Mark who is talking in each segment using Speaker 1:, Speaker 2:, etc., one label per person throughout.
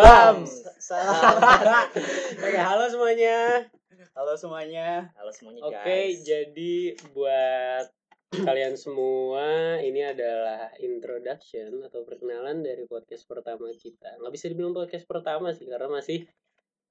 Speaker 1: Bam.
Speaker 2: Salah. Oke, halo semuanya.
Speaker 1: Halo semuanya.
Speaker 3: Halo semuanya
Speaker 2: Oke,
Speaker 3: guys.
Speaker 2: jadi buat kalian semua ini adalah introduction atau perkenalan dari podcast pertama kita. Nggak bisa dibilang podcast pertama sih karena masih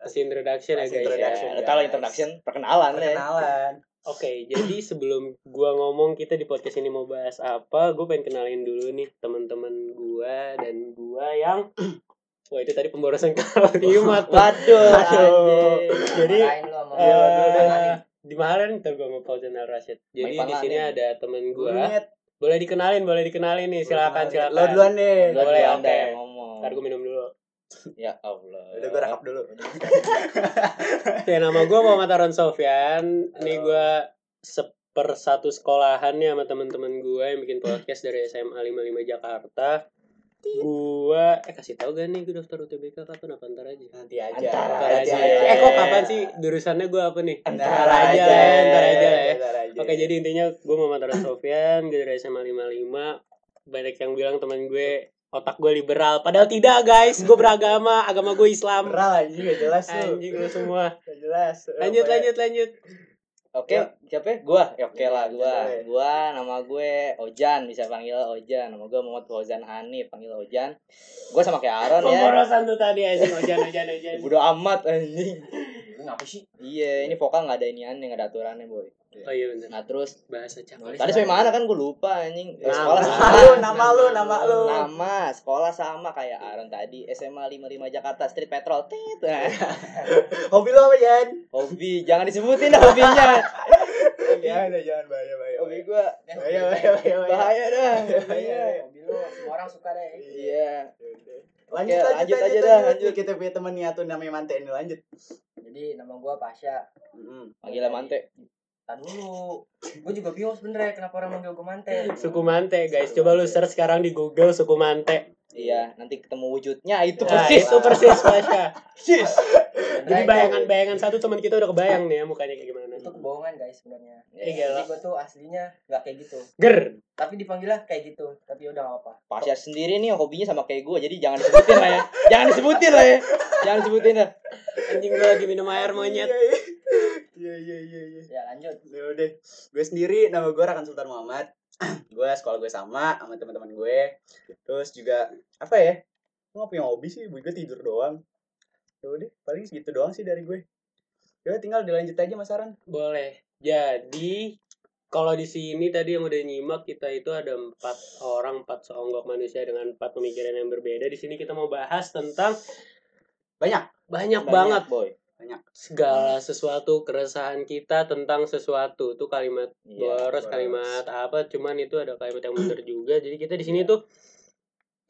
Speaker 2: masih introduction
Speaker 1: Masih
Speaker 2: ya guys.
Speaker 3: introduction.
Speaker 2: ya.
Speaker 1: guys.
Speaker 3: Kalau introduction perkenalan ya.
Speaker 1: Perkenalan.
Speaker 2: Oke, jadi sebelum gua ngomong kita di podcast ini mau bahas apa, gue pengen kenalin dulu nih teman-teman gua dan gua yang Wah itu tadi pemborosan kalimat.
Speaker 3: Waduh.
Speaker 1: Aduh.
Speaker 2: Jadi,
Speaker 4: Marahin lu
Speaker 3: Oh, iya,
Speaker 2: Eh,
Speaker 4: sama orang.
Speaker 2: dimarahin ntar gue sama Fauzan Al Rashid. Jadi
Speaker 3: Baik
Speaker 2: di sini
Speaker 3: banget,
Speaker 2: ada temen
Speaker 1: Gua
Speaker 2: gue.
Speaker 1: net.
Speaker 2: Boleh dikenalin, boleh dikenalin nih. Silakan,
Speaker 1: Gua
Speaker 2: silakan.
Speaker 1: net. Lo duluan deh.
Speaker 2: Gua- Boleh,
Speaker 3: Anda
Speaker 2: oke.
Speaker 3: yang ngomong.
Speaker 2: Ntar gue minum dulu.
Speaker 3: Ya Allah.
Speaker 1: Udah gue rekap dulu.
Speaker 2: Oke, nama gue Muhammad Aron Sofyan. Ini
Speaker 1: Halo.
Speaker 2: gue sepersatu sekolahan nih sama temen-temen gue yang bikin podcast dari SMA 55 Jakarta. Gue, eh kasih tau gak nih gue daftar UTBK kapan? Apa ntar aja?
Speaker 1: Nanti aja.
Speaker 3: Antara
Speaker 2: Ntar aja.
Speaker 3: aja.
Speaker 2: Eh kok kapan sih? Jurusannya gue apa nih?
Speaker 1: Ntar
Speaker 2: aja
Speaker 1: aja.
Speaker 2: lah ya, ntar aja lah ya.
Speaker 1: Ntar aja.
Speaker 3: Iya,
Speaker 2: Oke jadi intinya gue Muhammad Rara Sofian Gue dari SMA 55 Banyak yang bilang teman gue Otak gue liberal Padahal tidak guys Gue beragama Agama gue Islam
Speaker 1: Beral anjing gak jelas lu.
Speaker 2: Anjing lu semua
Speaker 1: Gak jelas.
Speaker 2: Lanjut
Speaker 3: ya.
Speaker 2: lanjut lanjut
Speaker 3: Oke,
Speaker 1: Ya.
Speaker 3: siapa? ya? Gua. Ya, oke
Speaker 1: Ya,
Speaker 3: lah gua.
Speaker 1: boleh.
Speaker 3: Gua nama gue Ojan, bisa panggil Ojan. Nama gue Muhammad Fauzan Hanif, panggil Ojan. Gua sama kayak Aaron ya.
Speaker 2: Pemborosan tuh tadi anjing Oh, Ojan ojan ojan
Speaker 3: Bodo amat anjing.
Speaker 4: Lu ngapa sih?
Speaker 3: Iya, ini vokal nggak ada iniannya, nggak ada aturannya, boy.
Speaker 2: Oh iya bener
Speaker 3: Nah, terus
Speaker 2: Bahasa cakep
Speaker 3: tadi sampai mana kan gue lupa anjing. Eh,
Speaker 1: Nah,
Speaker 2: Nama.
Speaker 3: sekolah
Speaker 1: Nama lu,
Speaker 3: sama.
Speaker 1: nama lu, Ya, nama lu.
Speaker 3: Nama sekolah sama kayak Aaron tadi SMA 55 Jakarta Street Patrol. Tit. Nah,
Speaker 1: Hobi lu apa, Jan?
Speaker 3: hobi jangan disebutin dah hobinya.
Speaker 1: Ya udah jangan bahaya bahaya.
Speaker 3: hobi gua
Speaker 1: Bahaya bahaya bahaya. bahaya.
Speaker 3: bahaya dah.
Speaker 2: Iya,
Speaker 1: Bahaya.
Speaker 4: Hobi Iya, lu semua orang suka deh.
Speaker 3: Iya.
Speaker 1: Lanjut,
Speaker 3: Oke,
Speaker 1: lanjut,
Speaker 3: lanjut aja dah, lanjut.
Speaker 1: Kita punya temen nih atau namanya Mante ini lanjut.
Speaker 4: Jadi nama gua Pasha.
Speaker 3: Panggil Mante.
Speaker 4: Tahan dulu. Gua juga bingung sebenernya kenapa orang manggil gua Mante.
Speaker 2: Suku Mante guys Coba lu search sekarang di google Suku Mante
Speaker 3: Iya, nanti ketemu wujudnya itu
Speaker 2: Nah
Speaker 3: persis.
Speaker 2: itu persis Pasha
Speaker 3: persis.
Speaker 2: Jadi bayangan-bayangan satu teman kita udah kebayang nih ya Mukanya kayak gimana
Speaker 4: itu kebohongan guys sebenarnya.
Speaker 2: Iya,
Speaker 3: Iya.
Speaker 2: gila.
Speaker 4: Jadi gua tuh aslinya nggak kayak gitu.
Speaker 2: Ger
Speaker 4: Tapi dipanggillah kayak gitu. Tapi udah nggak apa.
Speaker 3: Pasha sendiri nih hobinya sama kayak gua, jadi jangan disebutin lah ya. Jangan disebutin lah ya. Jangan disebutin lah.
Speaker 2: Anjing gue lagi minum air monyet
Speaker 1: Iya, Iya iya iya iya.
Speaker 4: Ya lanjut.
Speaker 1: Ya udah. Gue sendiri nama gue Rakan Sultan Muhammad. gue sekolah gue sama sama teman-teman gue. Terus juga apa ya? Gue gak punya hobi sih, gue tidur doang. Ya udah, paling segitu doang sih dari gue. Ya udah, tinggal dilanjut aja Mas Aran.
Speaker 2: Boleh. Jadi kalau di sini tadi yang udah nyimak kita itu ada empat orang empat seonggok manusia dengan empat pemikiran yang berbeda. Di sini kita mau bahas tentang
Speaker 1: Banyak.
Speaker 2: banyak, banget
Speaker 3: boy.
Speaker 2: segala sesuatu keresahan kita tentang sesuatu. Itu kalimat
Speaker 3: Iya.
Speaker 2: boros,
Speaker 1: boros.
Speaker 2: kalimat apa? Cuman itu ada kalimat yang benar juga. Jadi kita di sini tuh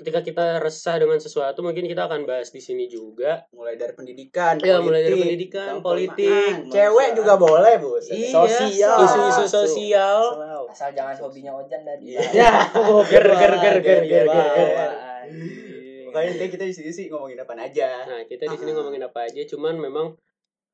Speaker 2: ketika kita resah dengan sesuatu mungkin kita akan bahas di sini juga.
Speaker 1: Mulai dari pendidikan,
Speaker 2: Ya mulai dari
Speaker 1: politik,
Speaker 2: pendidikan,
Speaker 1: tentang
Speaker 2: politik,
Speaker 1: perumahan, Cewek juga boleh, Bu.
Speaker 2: iya,
Speaker 3: Sosial.
Speaker 2: isu-isu sosial.
Speaker 4: Asal jangan hobinya Ojan tadi.
Speaker 2: Iya.
Speaker 3: Ya,
Speaker 2: Ger, ger, ger, ger, Iya. ger,
Speaker 3: iya,
Speaker 2: ger,
Speaker 1: ger.
Speaker 3: Makanya
Speaker 1: Makanya intinya kita di sini sih ngomongin apaan aja.
Speaker 2: Nah, kita di sini
Speaker 1: Ah.
Speaker 2: ngomongin apa aja, cuman memang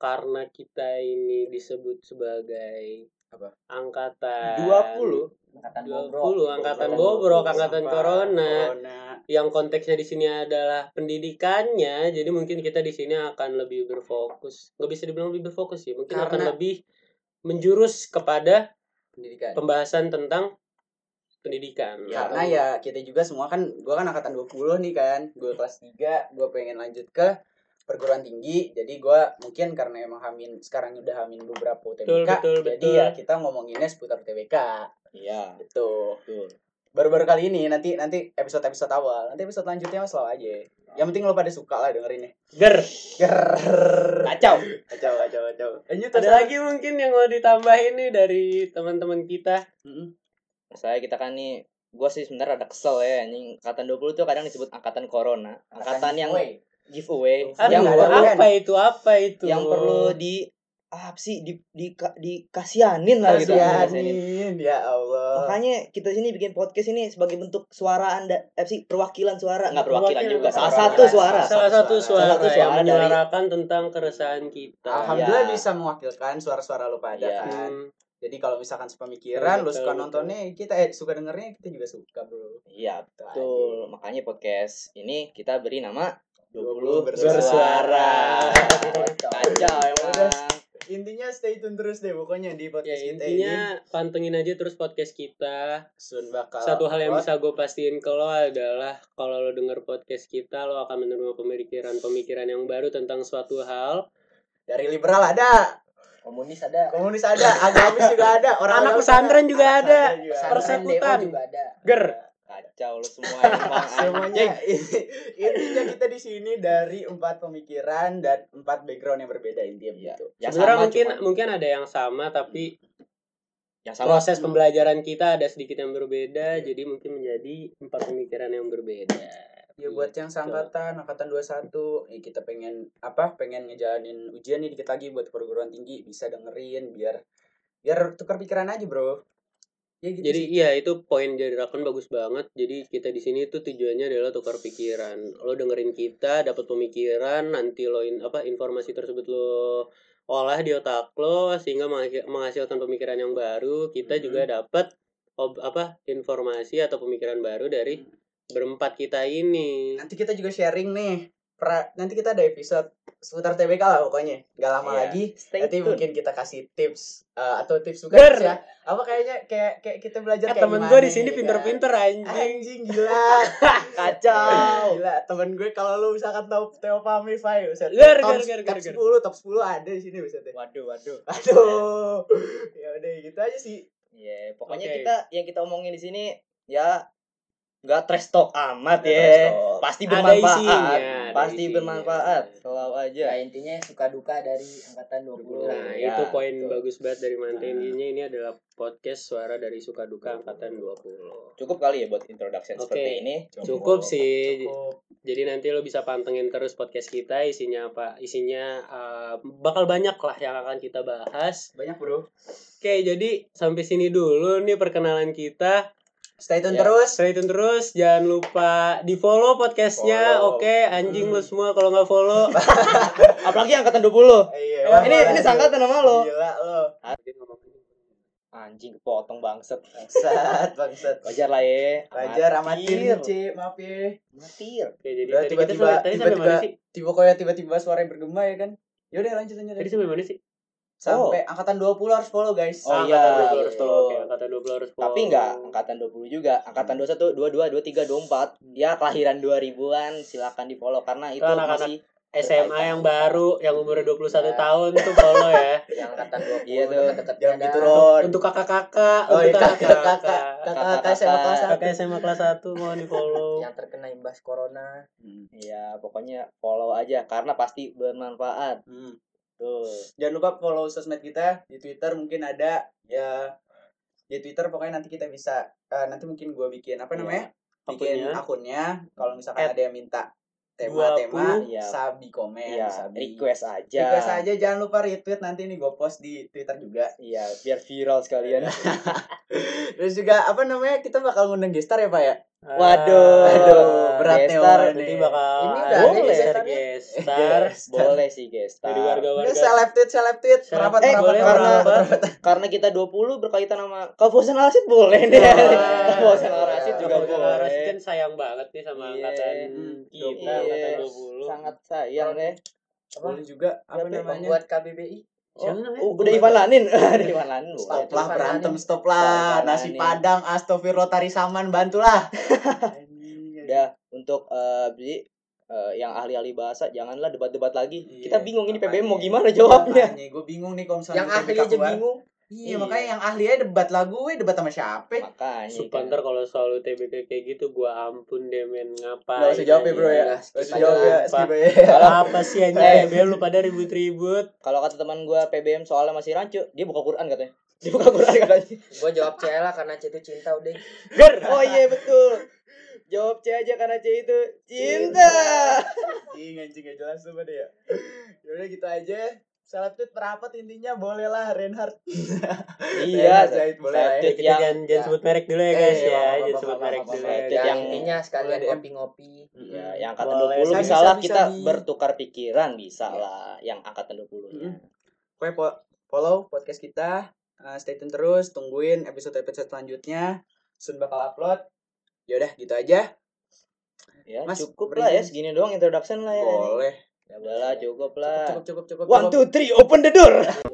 Speaker 2: karena kita ini disebut sebagai
Speaker 1: Apa?
Speaker 2: angkatan
Speaker 3: 20.
Speaker 4: Angkatan
Speaker 2: 20,
Speaker 4: bobrok.
Speaker 2: angkatan
Speaker 1: Bobrok,
Speaker 2: bobrok, angkatan
Speaker 1: sampah,
Speaker 2: corona,
Speaker 1: Corona.
Speaker 2: yang konteksnya di sini adalah pendidikannya, jadi mungkin kita di sini akan lebih berfokus. Nggak bisa dibilang lebih berfokus sih, mungkin akan
Speaker 1: Karena-
Speaker 2: lebih menjurus kepada
Speaker 1: Pendidikan.
Speaker 2: pembahasan tentang pendidikan. Gitu.
Speaker 1: Ya, karena
Speaker 2: Atau-
Speaker 1: ya kita juga semua kan gua kan angkatan 20 nih kan gue kelas 3 gue pengen lanjut ke perguruan tinggi jadi gua mungkin karena emang hamin sekarang udah hamin beberapa UTBK
Speaker 2: Betul, betul,
Speaker 1: jadi
Speaker 2: betul.
Speaker 1: ya kita ngomonginnya seputar UTBK
Speaker 3: Iya,
Speaker 1: gitu
Speaker 3: betul.
Speaker 1: baru-baru kali ini nanti nanti episode episode awal nanti episode lanjutnya mas selalu aja yang penting lo pada suka lah dengerinnya
Speaker 2: Ger.
Speaker 1: Grrrr.
Speaker 3: Kacau.
Speaker 1: kacau kacau kacau lanjut
Speaker 2: Ada lagi mungkin yang mau ditambahin nih dari teman-teman kita.
Speaker 3: Saya kita kan nih gue sih sebenarnya ada kesel ya anjing angkatan 20 tuh kadang disebut angkatan corona angkatan yang
Speaker 4: boy.
Speaker 3: giveaway
Speaker 2: Aduh,
Speaker 3: Kan yang
Speaker 1: nggak ada
Speaker 3: perlu
Speaker 2: Kan apa itu apa itu
Speaker 3: yang perlu di ah, apa sih di di ka- dikasihanin lah gitu Dikasihanin.
Speaker 1: kasianin ya Allah
Speaker 3: makanya kita sini bikin podcast ini sebagai bentuk suara anda eh, apa sih perwakilan suara nggak perwakilan juga salah
Speaker 1: Perwakilan.
Speaker 3: satu suara
Speaker 2: salah satu suara,
Speaker 3: Salah satu
Speaker 2: yang
Speaker 3: suara dari-
Speaker 2: menyuarakan tentang keresahan kita.
Speaker 1: Alhamdulillah
Speaker 3: Iya.
Speaker 1: bisa mewakilkan suara-suara lo pada
Speaker 3: Iya.
Speaker 1: kan
Speaker 2: Hmm,
Speaker 1: Jadi kalau misalkan sepemikiran, lu
Speaker 2: Betul,
Speaker 1: suka
Speaker 2: betul.
Speaker 1: nontonnya, kita eh, suka dengernya, kita juga suka bro. Gitu
Speaker 3: iya
Speaker 1: Itu aja.
Speaker 3: betul makanya podcast ini kita beri nama 20
Speaker 1: Bersuara.
Speaker 3: bersuara. Kacau
Speaker 1: Udah.
Speaker 3: emang.
Speaker 1: Intinya stay tune terus deh pokoknya di
Speaker 2: Ya
Speaker 1: podcast kita
Speaker 2: intinya
Speaker 1: ini.
Speaker 2: pantengin aja terus podcast kita.
Speaker 1: Sun bakal
Speaker 2: Satu hal yang
Speaker 1: upload.
Speaker 2: bisa gue pastiin ke lo adalah kalau lo denger podcast kita lo akan menerima pemikiran-pemikiran yang baru tentang suatu hal.
Speaker 1: dari liberal ada,
Speaker 4: Komunis ada.
Speaker 1: komunis ada, agamis juga ada, orang
Speaker 2: Anak pesantren juga ada.
Speaker 4: Pesantren DO
Speaker 2: Persekutan.
Speaker 4: juga ada.
Speaker 2: Ger.
Speaker 3: Kacau lu semua emang. anjing.
Speaker 1: Semuanya ini- intinya kita di sini dari empat pemikiran dan empat background yang berbeda intinya
Speaker 3: Iya.
Speaker 1: begitu.
Speaker 3: Yang
Speaker 2: Sebenarnya
Speaker 3: sama
Speaker 2: mungkin
Speaker 3: cuman-
Speaker 2: mungkin ada yang sama tapi
Speaker 3: yang sama
Speaker 2: proses pembelajaran kita ada sedikit yang berbeda jadi mungkin menjadi empat pemikiran yang berbeda.
Speaker 1: Ya buat
Speaker 2: Iya,
Speaker 1: yang seangkatan angkatan 21 ya kita pengen apa pengen ngejalanin ujian nih dikit lagi buat perguruan tinggi bisa dengerin biar biar tukar pikiran aja bro ya gitu
Speaker 2: Jadi
Speaker 1: sih.
Speaker 2: iya itu poin dari Rakan bagus banget. Jadi kita di sini tuh tujuannya adalah tukar pikiran. Lo dengerin kita, dapat pemikiran, nanti lo in, apa informasi tersebut lo olah di otak lo sehingga mengha- menghasilkan pemikiran yang baru. Kita
Speaker 1: Mhm.
Speaker 2: juga dapat ob- apa informasi atau pemikiran baru dari berempat kita ini.
Speaker 1: nanti kita juga sharing nih pra- nanti kita ada episode seputar TBK lah pokoknya nggak lama
Speaker 3: Iya.
Speaker 1: lagi
Speaker 3: Stay
Speaker 1: nanti
Speaker 3: tune.
Speaker 1: mungkin kita kasih tips eh, atau tips juga
Speaker 2: Ger.
Speaker 1: tips ya apa kayaknya kayak kayak kita belajar
Speaker 2: Eh,
Speaker 1: kayak
Speaker 2: temen
Speaker 1: gimana,
Speaker 2: gue di sini
Speaker 1: ya kan?
Speaker 2: pinter-pinter anjing.
Speaker 1: anjing gila
Speaker 3: Kacau.
Speaker 1: Gila, temen gue kalau lu misalkan tau Theo Pami Fai, bisa
Speaker 2: Ger,
Speaker 1: top,
Speaker 2: ger, ger,
Speaker 1: top
Speaker 2: ger, ger.
Speaker 1: 10, top 10 ada di sini bisa
Speaker 3: Waduh, waduh.
Speaker 1: Aduh. ya udah gitu aja sih.
Speaker 3: Iya, pokoknya
Speaker 2: Oke.
Speaker 3: kita yang kita omongin di sini ya nggak trash talk amat
Speaker 1: Nggak
Speaker 3: ya.
Speaker 1: trash talk.
Speaker 3: Pasti
Speaker 2: Ada
Speaker 3: bermanfaat.
Speaker 2: isinya, ada isinya.
Speaker 3: Pasti
Speaker 2: Iya.
Speaker 3: bermanfaat. Selalu aja.
Speaker 4: Ya intinya suka duka dari angkatan 20.
Speaker 2: Nah,
Speaker 1: Iya,
Speaker 3: Ya,
Speaker 2: itu poin
Speaker 3: betul.
Speaker 2: bagus banget dari Mante.
Speaker 1: Nah.
Speaker 2: Intinya ini adalah podcast suara dari suka duka angkatan 20.
Speaker 3: Cukup kali ya buat introduction
Speaker 2: Oke.
Speaker 3: seperti ini.
Speaker 2: Cukup sih.
Speaker 3: Iya,
Speaker 1: Cukup.
Speaker 2: Jadi nanti lo bisa pantengin terus podcast kita isinya apa? Isinya uh, bakal banyak lah yang akan kita bahas.
Speaker 1: Banyak, Bro.
Speaker 2: Oke, jadi sampai sini dulu nih perkenalan kita.
Speaker 1: Stay tune
Speaker 3: Ya.
Speaker 1: terus.
Speaker 2: Stay tune terus, jangan lupa di follow podcastnya.
Speaker 1: Follow. Hmm.
Speaker 2: Oke, anjing lo semua kalau nggak follow.
Speaker 3: Apalagi angkatan 20.
Speaker 1: Iya.
Speaker 2: Wah,
Speaker 3: ini
Speaker 1: wah,
Speaker 3: ini
Speaker 1: wah.
Speaker 3: sangkatan sama lo.
Speaker 2: Iya.
Speaker 1: Gila lo.
Speaker 3: Anjing kepotong bangset.
Speaker 1: Bangsat, bangsat.
Speaker 3: Wajar lah ya.
Speaker 1: Wajar amatir,
Speaker 3: Amatir.
Speaker 1: C, maaf ya.
Speaker 3: Amatir.
Speaker 2: Oke, jadi
Speaker 1: Udah,
Speaker 2: tadi kita
Speaker 1: tiba-tiba-
Speaker 2: sampai- tadi sampai mana
Speaker 1: tiba-tiba-
Speaker 2: sih?
Speaker 1: Tiba kayak tiba-tiba suaranya bergema ya kan. Yaudah lanjut lanjut.
Speaker 2: Tadi
Speaker 1: lanjut.
Speaker 2: sampai mana sih?
Speaker 1: Sampai angkatan 20 harus follow guys.
Speaker 3: Oh,
Speaker 2: Ah,
Speaker 3: iya,
Speaker 2: angkatan 20 harus
Speaker 3: betul.
Speaker 2: follow. Oke, angkatan 20 harus follow.
Speaker 3: Tapi enggak angkatan 20 juga, angkatan 21, 22, 23, 24. Ya kelahiran 2000-an silakan di-follow karena itu
Speaker 2: Anak-anak.
Speaker 3: masih
Speaker 2: SMA yang baru yang umurnya 21
Speaker 1: Iya.
Speaker 4: Ya.
Speaker 2: tahun tuh follow ya.
Speaker 4: Yang angkatan 20
Speaker 3: Iya tuh.
Speaker 4: deket-deketnya
Speaker 1: Jangan
Speaker 4: ada.
Speaker 1: gitu, Ron.
Speaker 2: Untuk kakak-kakak,
Speaker 1: Oh, iya,
Speaker 2: untuk
Speaker 1: kakak-kakak. Kakak-kakak
Speaker 3: Kakak-kakak.
Speaker 1: SMA kelas
Speaker 2: Kakak SMA kelas 1 mohon di follow.
Speaker 4: Yang terkena imbas corona.
Speaker 1: 1.
Speaker 3: Iya, pokoknya follow aja karena pasti bermanfaat.
Speaker 1: Hmm.
Speaker 3: Tuh.
Speaker 1: Jangan lupa follow sosmed kita di Twitter mungkin ada ya di Twitter pokoknya nanti kita bisa eh, nanti mungkin gue bikin
Speaker 3: Iya.
Speaker 1: apa namanya bikin
Speaker 2: Akunnya.
Speaker 1: akunnya, kalau
Speaker 2: At
Speaker 1: misalkan ada yang minta tema-tema
Speaker 2: 20.
Speaker 1: ya,
Speaker 3: Iya.
Speaker 1: sabi komen
Speaker 3: Iya,
Speaker 1: sabi
Speaker 3: request aja.
Speaker 1: request aja jangan lupa retweet nanti ini gue post di Twitter juga
Speaker 3: Iya, biar viral sekalian.
Speaker 1: terus juga apa namanya kita bakal ngundang gestar ya pak ya
Speaker 3: Waduh.
Speaker 1: Aduh, berat nih,
Speaker 3: Gestar
Speaker 1: Wan.
Speaker 2: Ah, Nanti bakal
Speaker 4: Ini
Speaker 2: ada
Speaker 4: udah
Speaker 1: ada
Speaker 2: gestar
Speaker 4: gesetannya.
Speaker 2: gestar
Speaker 3: Boleh sih, guys.
Speaker 1: Iya.
Speaker 2: dari
Speaker 1: Udah
Speaker 2: warga-warga.
Speaker 1: seleb tweet, seleb tweet,
Speaker 2: Seleb-
Speaker 1: merapat,
Speaker 3: Eh,
Speaker 1: merapat,
Speaker 3: boleh,
Speaker 1: merapat,
Speaker 3: merapat.
Speaker 1: merapat.
Speaker 3: Karena kita 20 berkaitan sama Kabupaten Al-Rasyid boleh nih.
Speaker 2: Boleh.
Speaker 3: Kabupaten Al-Rasyid
Speaker 1: Boleh.
Speaker 3: juga
Speaker 2: Kalau
Speaker 3: boleh.
Speaker 2: Zara Rasid kan sayang banget nih sama
Speaker 3: Iya.
Speaker 2: angkatan kita,
Speaker 3: Iya.
Speaker 2: angkatan 20.
Speaker 3: Sangat sayang deh.
Speaker 4: Apa?
Speaker 1: Boleh juga apa
Speaker 3: Tapi
Speaker 1: namanya?
Speaker 4: Membuat KBBI.
Speaker 2: Siapa namanya?
Speaker 1: Uh,
Speaker 3: Oh, udah Ivan Lanin. udah Ivan Lanin. bukan.
Speaker 1: Stop
Speaker 4: Itu
Speaker 1: lah
Speaker 4: makanan
Speaker 1: berantem,
Speaker 4: yang-
Speaker 1: stop lah.
Speaker 3: Makanan
Speaker 1: Nasi
Speaker 3: yang-
Speaker 1: Padang, Astagfirullah, Tari Saman, bantulah.
Speaker 3: Udah untuk eh Bi, eh, yang ahli-ahli bahasa janganlah debat-debat lagi.
Speaker 1: Iya,
Speaker 3: Kita bingung ini PBM mau
Speaker 1: makanya.
Speaker 3: gimana jawabnya.
Speaker 1: gue bingung nih kalau misalnya
Speaker 4: Yang
Speaker 1: kita
Speaker 4: ahli
Speaker 1: buka
Speaker 4: aja
Speaker 1: keluar.
Speaker 4: bingung.
Speaker 1: Iya, makanya yang ahli aja debat lah gue, debat sama siapa?
Speaker 3: Makanya. kan.
Speaker 2: Sumpah ntar kalau selalu TBK kayak gitu gua ampun deh men ngapain
Speaker 1: Gak usah jawab ya bro ya.
Speaker 2: anjing.
Speaker 1: Gak usah
Speaker 4: aja.
Speaker 1: jawab Eh. ya,
Speaker 2: Sumpah.
Speaker 1: skip aja.
Speaker 2: Apa sih anjing TBK lu pada ribut-ribut
Speaker 3: Kalau kata teman gua PBM soalnya masih rancu, dia buka Quran katanya. Dia buka Quran katanya.
Speaker 4: Gue jawab C lah karena C itu cinta udah.
Speaker 3: Ger. Oh iya betul. Jawab C aja karena C itu cinta.
Speaker 1: Anjing, anjing gak jelas tuh pada ya. Yaudah gitu aja. Salah tweet merapat intinya boleh lah Reinhardt.
Speaker 3: Iya.
Speaker 1: Zahid boleh lah ya.
Speaker 3: Tweet
Speaker 2: Kita
Speaker 3: yang-
Speaker 2: jangan, jangan
Speaker 4: ya.
Speaker 2: sebut merek dulu ya guys
Speaker 1: Eh,
Speaker 2: ya
Speaker 1: apa-apa,
Speaker 2: Jangan
Speaker 1: apa-apa,
Speaker 2: sebut merek
Speaker 1: apa-apa,
Speaker 2: dulu ya
Speaker 3: apa-apa.
Speaker 2: guys.
Speaker 4: yang
Speaker 3: yang-
Speaker 4: intinya sekalian
Speaker 1: Boleh, Em.
Speaker 4: ngopi-ngopi.
Speaker 3: Ya,
Speaker 1: Mm-mm.
Speaker 3: yang angkatan
Speaker 2: Boleh.
Speaker 3: 20
Speaker 2: Bisa,
Speaker 3: bisa lah
Speaker 1: bisa,
Speaker 3: kita
Speaker 1: bisa di-
Speaker 3: bertukar pikiran bisa
Speaker 1: Iya. Hmm.
Speaker 3: lah yang angkatan 20-nya.
Speaker 1: Pokoknya po- follow podcast kita. Uh, stay tune terus, tungguin episode-episode selanjutnya. Soon bakal upload. Yaudah gitu aja.
Speaker 3: Ya,
Speaker 1: Mas,
Speaker 3: cukup
Speaker 1: beri-
Speaker 3: lah ya segini doang
Speaker 1: Iya.
Speaker 3: introduction lah ya.
Speaker 1: boleh
Speaker 3: Ya udahlah, cukup lah.
Speaker 1: cukup cukup cukup
Speaker 3: One, two, three, open the door.